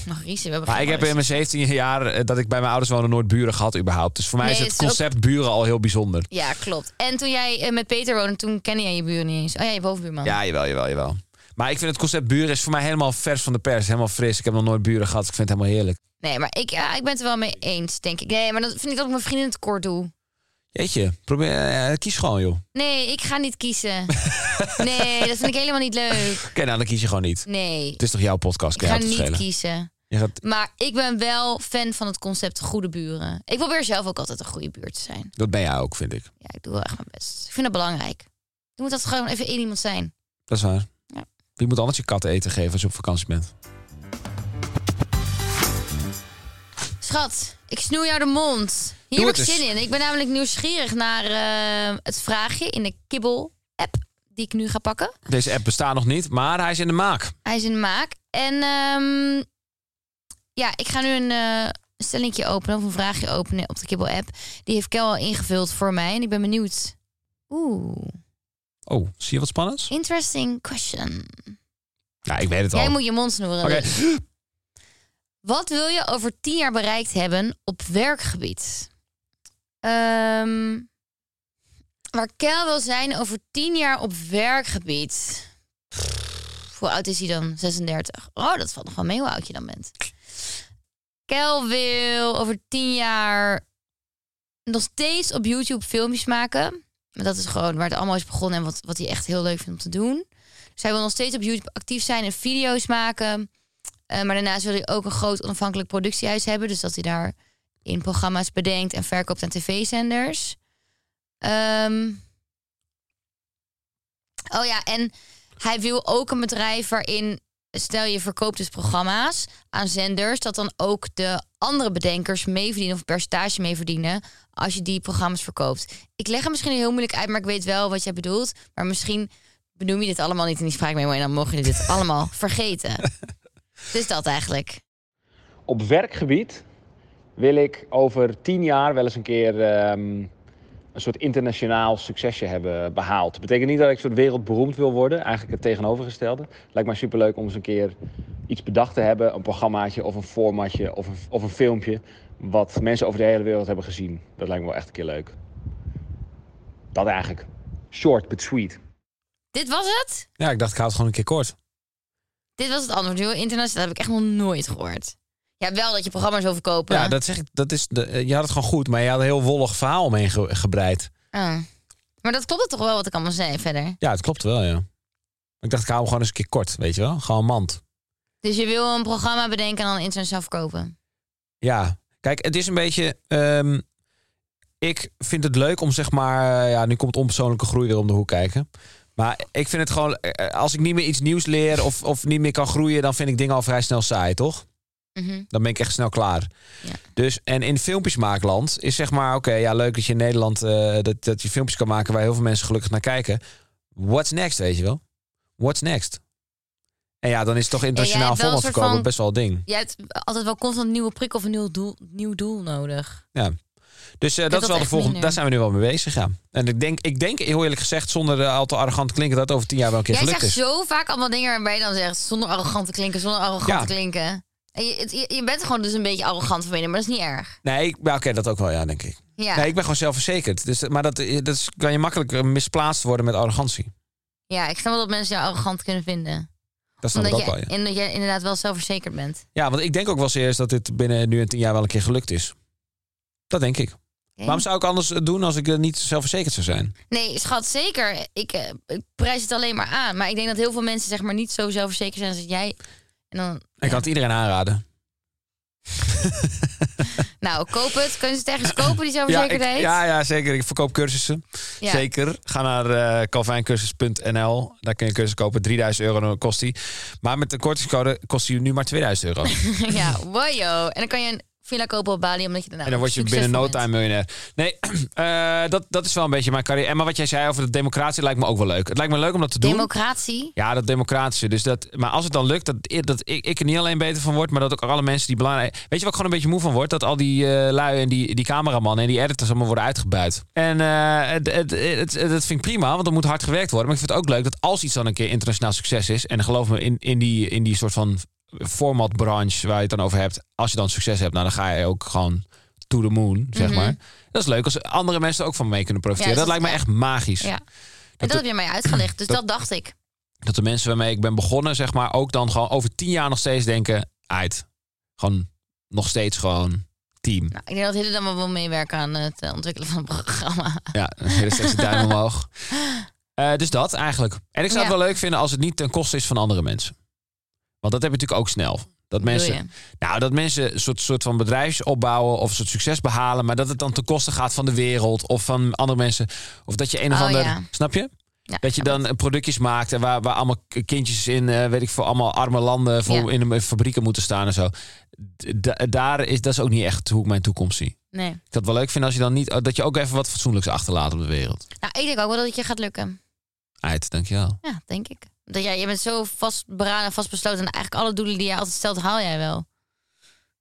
Speaker 2: Nog Riesen, we hebben
Speaker 1: Maar
Speaker 2: geen
Speaker 1: ik heb in
Speaker 2: ouders.
Speaker 1: mijn 17 jaar eh, dat ik bij mijn ouders woonde nooit buren gehad überhaupt. Dus voor mij
Speaker 2: Nee,
Speaker 1: is het
Speaker 2: het is ook-
Speaker 1: concept buren al heel bijzonder.
Speaker 2: Ja, klopt. En toen jij eh, met Peter woonde, toen kende jij je buren niet eens. Oh ja, je bovenbuurman.
Speaker 1: Ja, jawel, jawel, jawel. Maar ik vind het concept buren is voor mij helemaal vers van de pers. Helemaal fris. Ik heb nog nooit buren gehad. dus Ik vind het helemaal heerlijk.
Speaker 2: Nee, maar ik, ja, ik ben het er wel mee eens, denk ik. Nee, maar dan vind ik dat ik mijn vrienden tekort doe.
Speaker 1: Jeetje, probeer, eh, kies gewoon joh. Oké,
Speaker 2: Nee, ik ga niet kiezen. nee, dat vind ik helemaal niet leuk.
Speaker 1: nou dan kies je gewoon niet.
Speaker 2: Nee,
Speaker 1: Het is toch jouw podcast,
Speaker 2: ik
Speaker 1: kan
Speaker 2: ga
Speaker 1: jou
Speaker 2: niet
Speaker 1: het schelen.
Speaker 2: kiezen.
Speaker 1: Je gaat,
Speaker 2: Maar ik ben wel fan van het concept goede buren. Ik probeer zelf ook altijd een goede buurt te zijn.
Speaker 1: dat ben jij ook, vind ik.
Speaker 2: Ja, ik doe wel echt mijn best. Ik vind dat belangrijk. Er moet dat gewoon even één iemand zijn.
Speaker 1: Dat is waar.
Speaker 2: Ja.
Speaker 1: Wie moet anders je kat eten geven als je op vakantie bent?
Speaker 2: Schat, ik snoei jou de mond. Hier
Speaker 1: Doe
Speaker 2: heb ik
Speaker 1: het eens.
Speaker 2: zin in. Ik ben namelijk nieuwsgierig naar eh, het vraagje in de kibbel-app die ik nu ga pakken.
Speaker 1: Deze app bestaat nog niet, maar hij is in de maak.
Speaker 2: Hij is in de maak. En ehm, ja, ik ga nu een eh stellingje openen of een vraagje openen op de kibbel-app. Die heeft Kel al ingevuld voor mij en ik ben benieuwd. Oeh,
Speaker 1: Oh, zie je wat spannends?
Speaker 2: interesting question.
Speaker 1: Ja, ik weet het al.
Speaker 2: Jij moet je mond snoeren.
Speaker 1: Oké.
Speaker 2: dus. Wat wil je over tien jaar bereikt hebben op werkgebied? Ehm, waar Kel wil zijn over tien jaar op werkgebied. Pff, hoe oud is hij dan? 36. Oh, dat valt nog wel mee hoe oud je dan bent. Kel wil over tien jaar nog steeds op YouTube filmpjes maken. Maar dat is gewoon waar het allemaal is begonnen en wat, wat hij echt heel leuk vindt om te doen. Zij wil nog steeds op YouTube actief zijn en video's maken. Eh, maar daarnaast wil hij ook een groot onafhankelijk productiehuis hebben. Dus dat hij daar in programma's bedenkt en verkoopt aan tv-zenders. Ehm, oh ja, en hij wil ook een bedrijf waarin, stel je verkoopt dus programma's aan zenders, dat dan ook de andere bedenkers meeverdienen of een percentage meeverdienen als je die programma's verkoopt. Ik leg hem misschien heel moeilijk uit, maar ik weet wel wat jij bedoelt. Maar misschien benoem je dit allemaal niet in die spraakmemo en dan mogen jullie dit allemaal vergeten. Dus dat eigenlijk.
Speaker 4: op werkgebied wil ik over tien jaar wel eens een keer ehm, een soort internationaal succesje hebben behaald. Dat betekent niet dat ik een soort wereldberoemd wil worden, eigenlijk het tegenovergestelde. Lijkt mij superleuk om eens een keer iets bedacht te hebben, een programmaatje of een formatje of een, of een filmpje, wat mensen over de hele wereld hebben gezien. Dat lijkt me wel echt een keer leuk. Dat eigenlijk. Short but sweet.
Speaker 2: Dit was het?
Speaker 1: Ja, ik dacht, ik hou het gewoon een keer kort.
Speaker 2: Dit was het antwoord. Heel internationaal dat heb ik echt nog nooit gehoord. Ja, wel dat je programma's wil verkopen.
Speaker 1: Ja, dat zeg ik. Dat is de, eh, je had het gewoon goed, maar je had een heel wollig verhaal omheen ge- gebreid.
Speaker 2: Oké. Ah. Maar dat klopt toch wel wat ik allemaal zei verder?
Speaker 1: Ja, het klopt wel, ja. Ik dacht, ik hou hem gewoon eens een keer kort, weet je wel? Gewoon mand.
Speaker 2: Dus je wil een programma bedenken en dan internationaal verkopen.
Speaker 1: Ja, kijk, het is een beetje. ehm, ik vind het leuk om zeg maar. eh, Ja, nu komt onpersoonlijke groei weer om de hoek kijken. Maar ik vind het gewoon. eh, Als ik niet meer iets nieuws leer of, of niet meer kan groeien, dan vind ik dingen al vrij snel saai, toch?
Speaker 2: Mhm.
Speaker 1: Dan ben ik echt snel klaar.
Speaker 2: Ja.
Speaker 1: Dus, en in filmpjesmaakland is zeg maar, oké, ja, leuk dat je in Nederland eh, dat, dat je filmpjes kan maken waar heel veel mensen gelukkig naar kijken. What's next, weet je wel? What's next? En ja, dan is toch internationaal
Speaker 2: hebt wel een
Speaker 1: format
Speaker 2: soort
Speaker 1: verkopen
Speaker 2: van-
Speaker 1: best wel een ding.
Speaker 2: Je hebt altijd wel constant een nieuwe prik of een nieuw doel, nieuw doel nodig.
Speaker 1: Dus eh, dat
Speaker 2: heb
Speaker 1: is
Speaker 2: dat
Speaker 1: wel
Speaker 2: echt
Speaker 1: de volgende.
Speaker 2: minder.
Speaker 1: Daar zijn we nu wel mee bezig. Ja. En ik denk, ik denk heel eerlijk gezegd, zonder eh, al te arrogant te klinken, dat het over tien jaar wel een keer
Speaker 2: Jij
Speaker 1: gelukt
Speaker 2: zegt
Speaker 1: is.
Speaker 2: zo vaak allemaal dingen waarbij je dan zegt... zonder arrogant te klinken, zonder arrogant
Speaker 1: Ja.
Speaker 2: te klinken. En je, het- je, je bent gewoon dus een beetje arrogant van binnen, maar dat is niet erg.
Speaker 1: Nee, ik- ja, oké, dat ook wel, ja, denk ik.
Speaker 2: Ja,
Speaker 1: Nee, ik ben gewoon zelfverzekerd. Dus, maar dat, eh, dat is, kan je makkelijk eh, misplaatst worden met arrogantie.
Speaker 2: ja ik snap wel dat mensen jou arrogant kunnen vinden.
Speaker 1: Dat snap ik
Speaker 2: Omdat
Speaker 1: ook
Speaker 2: je,
Speaker 1: wel, ja.
Speaker 2: en dat je inderdaad wel zelfverzekerd bent.
Speaker 1: Ja, want ik denk ook wel serieus dat dit binnen nu en tien jaar wel een keer gelukt is. Dat denk ik.
Speaker 2: Oké?
Speaker 1: Waarom zou ik anders eh, doen als ik er niet zelfverzekerd zou zijn?
Speaker 2: Nee, schat, zeker. Ik, eh, ik prijs het alleen maar aan. Maar ik denk dat heel veel mensen zeg maar niet zo zelfverzekerd zijn als jij. En dan,
Speaker 1: Ik had iedereen aanraden.
Speaker 2: nou, koop het. Kunnen ze het ergens kopen, die
Speaker 1: Ja, ik,
Speaker 2: zelfverzekerdheid?
Speaker 1: ja, ja, zeker. Ik verkoop cursussen.
Speaker 2: Ja.
Speaker 1: Zeker. Ga naar eh, calvincursus.nl. Daar kun je een cursus kopen. 3000 euro dan kost die. Maar met de kortingscode kost die nu maar 2000 euro.
Speaker 2: ja, wojo. En dan kan je een villa kopen op Bali, omdat je daarna
Speaker 1: en dan word je binnen
Speaker 2: succesvol
Speaker 1: no
Speaker 2: bent.
Speaker 1: time miljonair. Nee, eh, dat, dat is wel een beetje mijn carrière. En maar wat jij zei over de democratie lijkt me ook wel leuk. Het lijkt me leuk om dat te doen.
Speaker 2: Democratie.
Speaker 1: Ja, dat democratische. Dus dat, maar als het dan lukt, dat, dat ik, ik er niet alleen beter van word, maar dat ook alle mensen die belangrijk. Weet je wat ik gewoon een beetje moe van word? Dat al die eh, lui en die, die cameramannen en die editors allemaal worden uitgebuit. En eh, het, het, het, het- dat vind ik prima, want er moet hard gewerkt worden. Maar ik vind het ook leuk dat als iets dan een keer internationaal succes is, en geloof me, in, in, die, in die soort van formatbranche waar je het dan over hebt, als je dan succes hebt, nou, dan ga je ook gewoon to the moon, zeg
Speaker 2: Mhm.
Speaker 1: maar. Dat is leuk als andere mensen er ook van mee kunnen profiteren.
Speaker 2: Ja,
Speaker 1: dat
Speaker 2: dus
Speaker 1: lijkt me echt magisch.
Speaker 2: Ja. En
Speaker 1: Dat
Speaker 2: dat
Speaker 1: de-
Speaker 2: heb je mij uitgelegd, dus
Speaker 1: dat-
Speaker 2: dat, dacht ik.
Speaker 1: dat de mensen waarmee ik ben begonnen, zeg maar, ook dan gewoon over tien jaar nog steeds denken, uit. Gewoon nog steeds gewoon team.
Speaker 2: Nou, ik denk dat Hille dan wel wil meewerken aan het eh, ontwikkelen van het programma.
Speaker 1: Ja, dan hele steeds de duim omhoog. Eh, dus dat eigenlijk. En ik zou het
Speaker 2: Ja.
Speaker 1: wel leuk vinden als het niet ten koste is van andere mensen. Want dat heb je natuurlijk ook snel. Dat mensen,
Speaker 2: Wil je?
Speaker 1: nou, dat mensen een soort, soort van bedrijfs opbouwen of een soort succes behalen, maar dat het dan ten koste gaat van de wereld of van andere mensen. Of dat je een of
Speaker 2: Oh,
Speaker 1: ander.
Speaker 2: ja.
Speaker 1: Snap je?
Speaker 2: Ja,
Speaker 1: Dat je dan eh, productjes maakt en waar, waar allemaal k- kindjes in, eh, weet ik veel, allemaal arme landen voor
Speaker 2: Ja.
Speaker 1: in de fabrieken moeten staan en zo. D- da- daar is, dat is ook niet echt hoe ik mijn toekomst zie.
Speaker 2: Nee.
Speaker 1: Ik dat wel leuk vind als je dan niet, oh, dat je ook even wat fatsoenlijks achterlaat op de wereld.
Speaker 2: Nou, ik denk ook wel dat het je gaat lukken.
Speaker 1: Uit, dankjewel.
Speaker 2: Ja, denk ik. Dat jij, je bent zo vastberaden en vastbesloten. En eigenlijk alle doelen die jij altijd stelt, haal jij wel.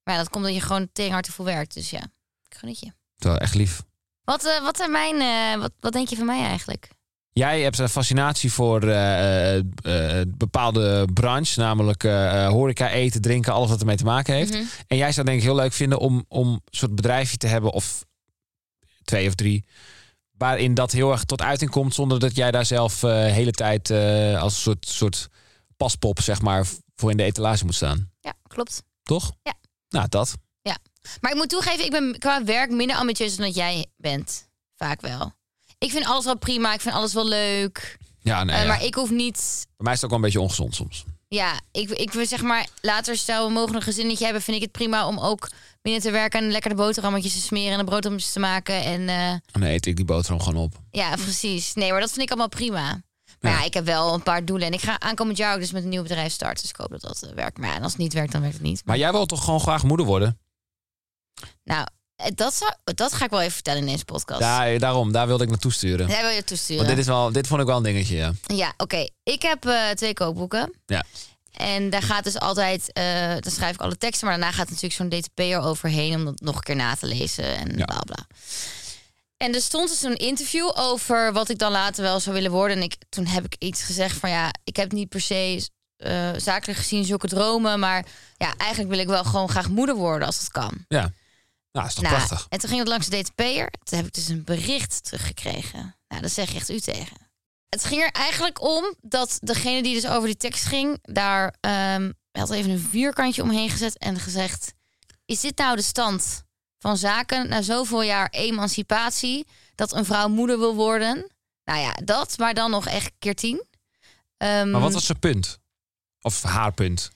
Speaker 2: Maar ja, dat komt dat je gewoon tegen hard te veel werkt. Dus ja, ik gun het je.
Speaker 1: Terwijl echt lief.
Speaker 2: Wat, eh, wat, zijn mijn, eh, wat, wat denk je van mij eigenlijk?
Speaker 1: Jij hebt een fascinatie voor eh, eh, eh, bepaalde branche, namelijk eh, eh, horeca, eten, drinken, alles wat ermee te maken heeft.
Speaker 2: Mhm.
Speaker 1: En jij zou denk ik heel leuk vinden om, om een soort bedrijfje te hebben of twee of drie. Waarin dat heel erg tot uiting komt zonder dat jij daar zelf eh, de hele tijd eh, als een soort, soort paspop zeg maar voor in de etalage moet staan.
Speaker 2: Ja, klopt.
Speaker 1: Toch?
Speaker 2: Ja.
Speaker 1: Nou, dat.
Speaker 2: Maar ik moet toegeven, ik ben qua werk minder ambitieus dan dat jij bent. Vaak wel. Ik vind alles wel prima, ik vind alles wel leuk.
Speaker 1: Ja, nee,
Speaker 2: Eh,
Speaker 1: ja.
Speaker 2: Maar ik hoef niet
Speaker 1: Bij mij is het ook wel een beetje ongezond soms.
Speaker 2: Ja, ik, ik wil zeg maar, later stel we mogen een gezinnetje hebben, vind ik het prima om ook binnen te werken en lekker de boterhammetjes te smeren en de broodhammetjes te maken. En eh,
Speaker 1: Dan eet ik die boterham gewoon op.
Speaker 2: ja, precies. Nee, maar dat vind ik allemaal prima. Maar
Speaker 1: Hm. Ja.
Speaker 2: ja. ik heb wel een paar doelen en ik ga aankomend jaar ook dus met een nieuw bedrijf starten. Dus ik hoop dat dat eh, werkt. Maar ja, en als het niet werkt, dan werkt het niet.
Speaker 1: Maar jij wil toch gewoon graag moeder worden?
Speaker 2: Nou, eh, dat, zou, dat ga ik wel even vertellen in deze podcast.
Speaker 1: Daar, daarom, daar wilde ik naartoe sturen.
Speaker 2: Daar wil je
Speaker 1: Want
Speaker 2: toesturen.
Speaker 1: dit, is wel, dit vond ik wel een dingetje, ja.
Speaker 2: Ja, oké. Ik heb eh, twee kookboeken.
Speaker 1: Ja.
Speaker 2: En daar gaat dus altijd, eh dan schrijf ik alle teksten, maar daarna gaat natuurlijk zo'n DTP'er overheen om dat nog een keer na te lezen en
Speaker 1: Ja.
Speaker 2: bla bla. En er stond dus een interview over wat ik dan later wel zou willen worden. En ik, toen heb ik iets gezegd van ja, ik heb niet per se eh, zakelijk gezien zulke dromen, maar ja, eigenlijk wil ik wel gewoon graag moeder worden als dat kan.
Speaker 1: Nou, is toch
Speaker 2: Nou,
Speaker 1: prachtig?
Speaker 2: En toen ging het langs de DTP'er. Toen heb ik dus een bericht teruggekregen. Nou, dat zeg echt u tegen. Het ging er eigenlijk om dat degene die dus over die tekst ging... daar ehm, had even een vierkantje omheen gezet en gezegd... is dit nou de stand van zaken na zoveel jaar emancipatie... dat een vrouw moeder wil worden. Nou ja, dat, maar dan nog echt keer tien. Ehm,
Speaker 1: Maar wat was zijn punt? Of haar punt?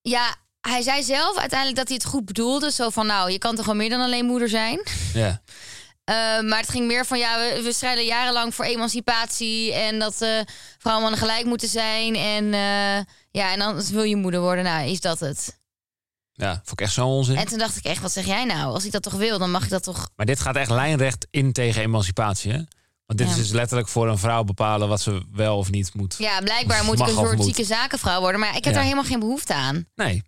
Speaker 2: Ja, hij zei zelf uiteindelijk dat hij het goed bedoelde. Zo van, nou, je kan toch wel meer dan alleen moeder zijn?
Speaker 1: Ja.
Speaker 2: Eh, maar het ging meer van, ja, we, we strijden jarenlang voor emancipatie... en dat eh, vrouwen en mannen gelijk moeten zijn. En eh, ja, en dan wil je moeder worden. Nou, is dat het.
Speaker 1: Ja, vond ik echt zo'n onzin.
Speaker 2: En toen dacht ik echt, wat zeg jij nou? Als ik dat toch wil, dan mag ik dat toch...
Speaker 1: Maar dit gaat echt lijnrecht in tegen emancipatie, hè? Want dit
Speaker 2: Ja.
Speaker 1: is dus letterlijk voor een vrouw bepalen wat ze wel of niet moet.
Speaker 2: Ja, blijkbaar moet
Speaker 1: Mag
Speaker 2: ik een
Speaker 1: of
Speaker 2: soort
Speaker 1: moet.
Speaker 2: zieke zakenvrouw worden. Maar ja, ik heb
Speaker 1: Ja.
Speaker 2: daar helemaal geen behoefte aan.
Speaker 1: Nee.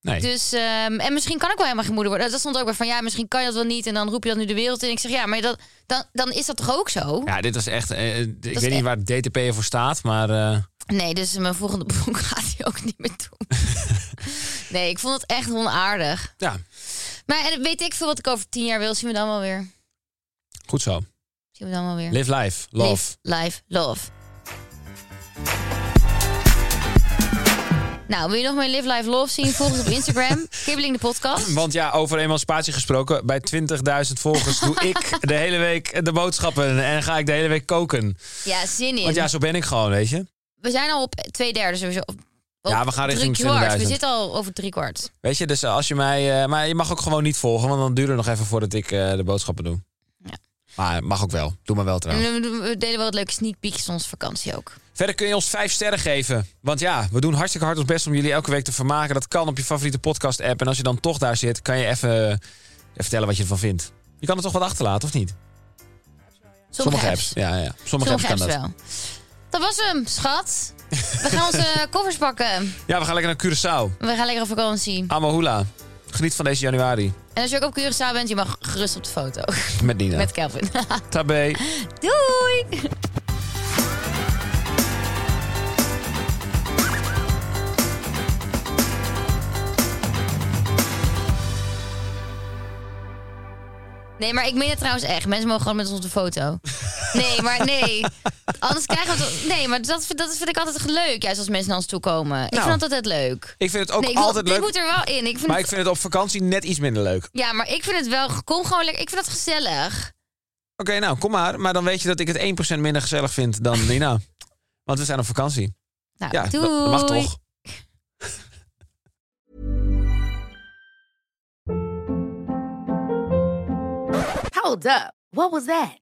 Speaker 1: Nee.
Speaker 2: Dus, ehm, en misschien kan ik wel helemaal geen moeder worden. Dat stond ook weer van, ja, misschien kan je dat wel niet. En dan roep je dat nu de wereld in. Ik zeg, ja, maar dat, dan, dan is dat toch ook zo?
Speaker 1: Ja, dit was echt. eh, eh, ik weet
Speaker 2: is
Speaker 1: niet
Speaker 2: echt-
Speaker 1: waar DTP voor staat, maar. eh,
Speaker 2: Nee, dus mijn volgende boek gaat hij ook niet meer doen. nee, ik vond het echt onaardig.
Speaker 1: ja,
Speaker 2: Maar en weet ik veel wat ik over tien jaar wil, zien we dan wel weer.
Speaker 1: goed zo.
Speaker 2: Zien we dan wel weer.
Speaker 1: Live life, love.
Speaker 2: Live, live, love. Nou, wil je nog meer Live, Live, Love zien? Volg ons op Instagram, Kibbeling de podcast.
Speaker 1: Want ja, over emancipatie gesproken. Bij 20.000 volgers doe ik de hele week de boodschappen. En ga ik de hele week koken.
Speaker 2: Ja, zin in.
Speaker 1: Want ja, zo ben ik gewoon, weet je.
Speaker 2: We zijn al op twee derde sowieso. Op, op
Speaker 1: Ja, we gaan
Speaker 2: drie
Speaker 1: richting
Speaker 2: kwart. We
Speaker 1: 20.000.
Speaker 2: zitten al over drie kwart.
Speaker 1: Weet je, dus als je mij. eh, maar je mag ook gewoon niet volgen, want dan duurt het nog even voordat ik eh, de boodschappen doe.
Speaker 2: Ja. Mm.
Speaker 1: Maar mag ook wel. Doe maar wel trouwens.
Speaker 2: En we- we delen wel wat leuke sneak peeks van onze vakantie ook.
Speaker 1: Verder kun je ons vijf sterren geven. Want ja, we doen hartstikke hard ons best om jullie elke week te vermaken. Dat kan op je favoriete podcast-app. En als je dan toch daar zit, kan je even eh, even vertellen wat je ervan vindt. Je kan er toch wat achterlaten, of niet?
Speaker 2: Sommige apps.
Speaker 1: Ja, ja. Sommige,
Speaker 2: Sommige
Speaker 1: apps kan
Speaker 2: apps
Speaker 1: dat.
Speaker 2: wel. Dat was hem, schat. We gaan onze koffers pakken.
Speaker 1: Ja, we gaan lekker naar Curaçao.
Speaker 2: We gaan lekker op vakantie.
Speaker 1: Amahula. Geniet van deze januari.
Speaker 2: En als je ook op Curaçao bent, je mag gerust op de foto.
Speaker 1: Met Nina.
Speaker 2: Met Kelvin.
Speaker 1: Tabé.
Speaker 2: Doei! Nee, maar ik meen het trouwens echt. Mensen mogen gewoon met ons op de foto. Nee, maar nee. Anders krijgen we het... Nee, maar dat, vind- dat vind ik altijd leuk. Juist als mensen naar ons toe komen. Ik
Speaker 1: Nou.
Speaker 2: vind dat altijd leuk.
Speaker 1: Ik vind het ook
Speaker 2: nee, ik wil-
Speaker 1: altijd
Speaker 2: dit
Speaker 1: leuk.
Speaker 2: moet er wel in. Ik vind
Speaker 1: Maar
Speaker 2: het-
Speaker 1: ik vind het op vakantie net iets minder leuk. Oké,
Speaker 2: Ja, maar ik vind het wel... Kom gewoon lekker. Ik vind dat gezellig.
Speaker 1: nou, kom maar. Maar dan weet je dat ik het 1% minder gezellig vind dan Nina. Want we zijn op vakantie.
Speaker 2: Nou,
Speaker 1: Ja, dat-
Speaker 2: doei.
Speaker 1: dat mag toch?
Speaker 3: Hold up. What was that?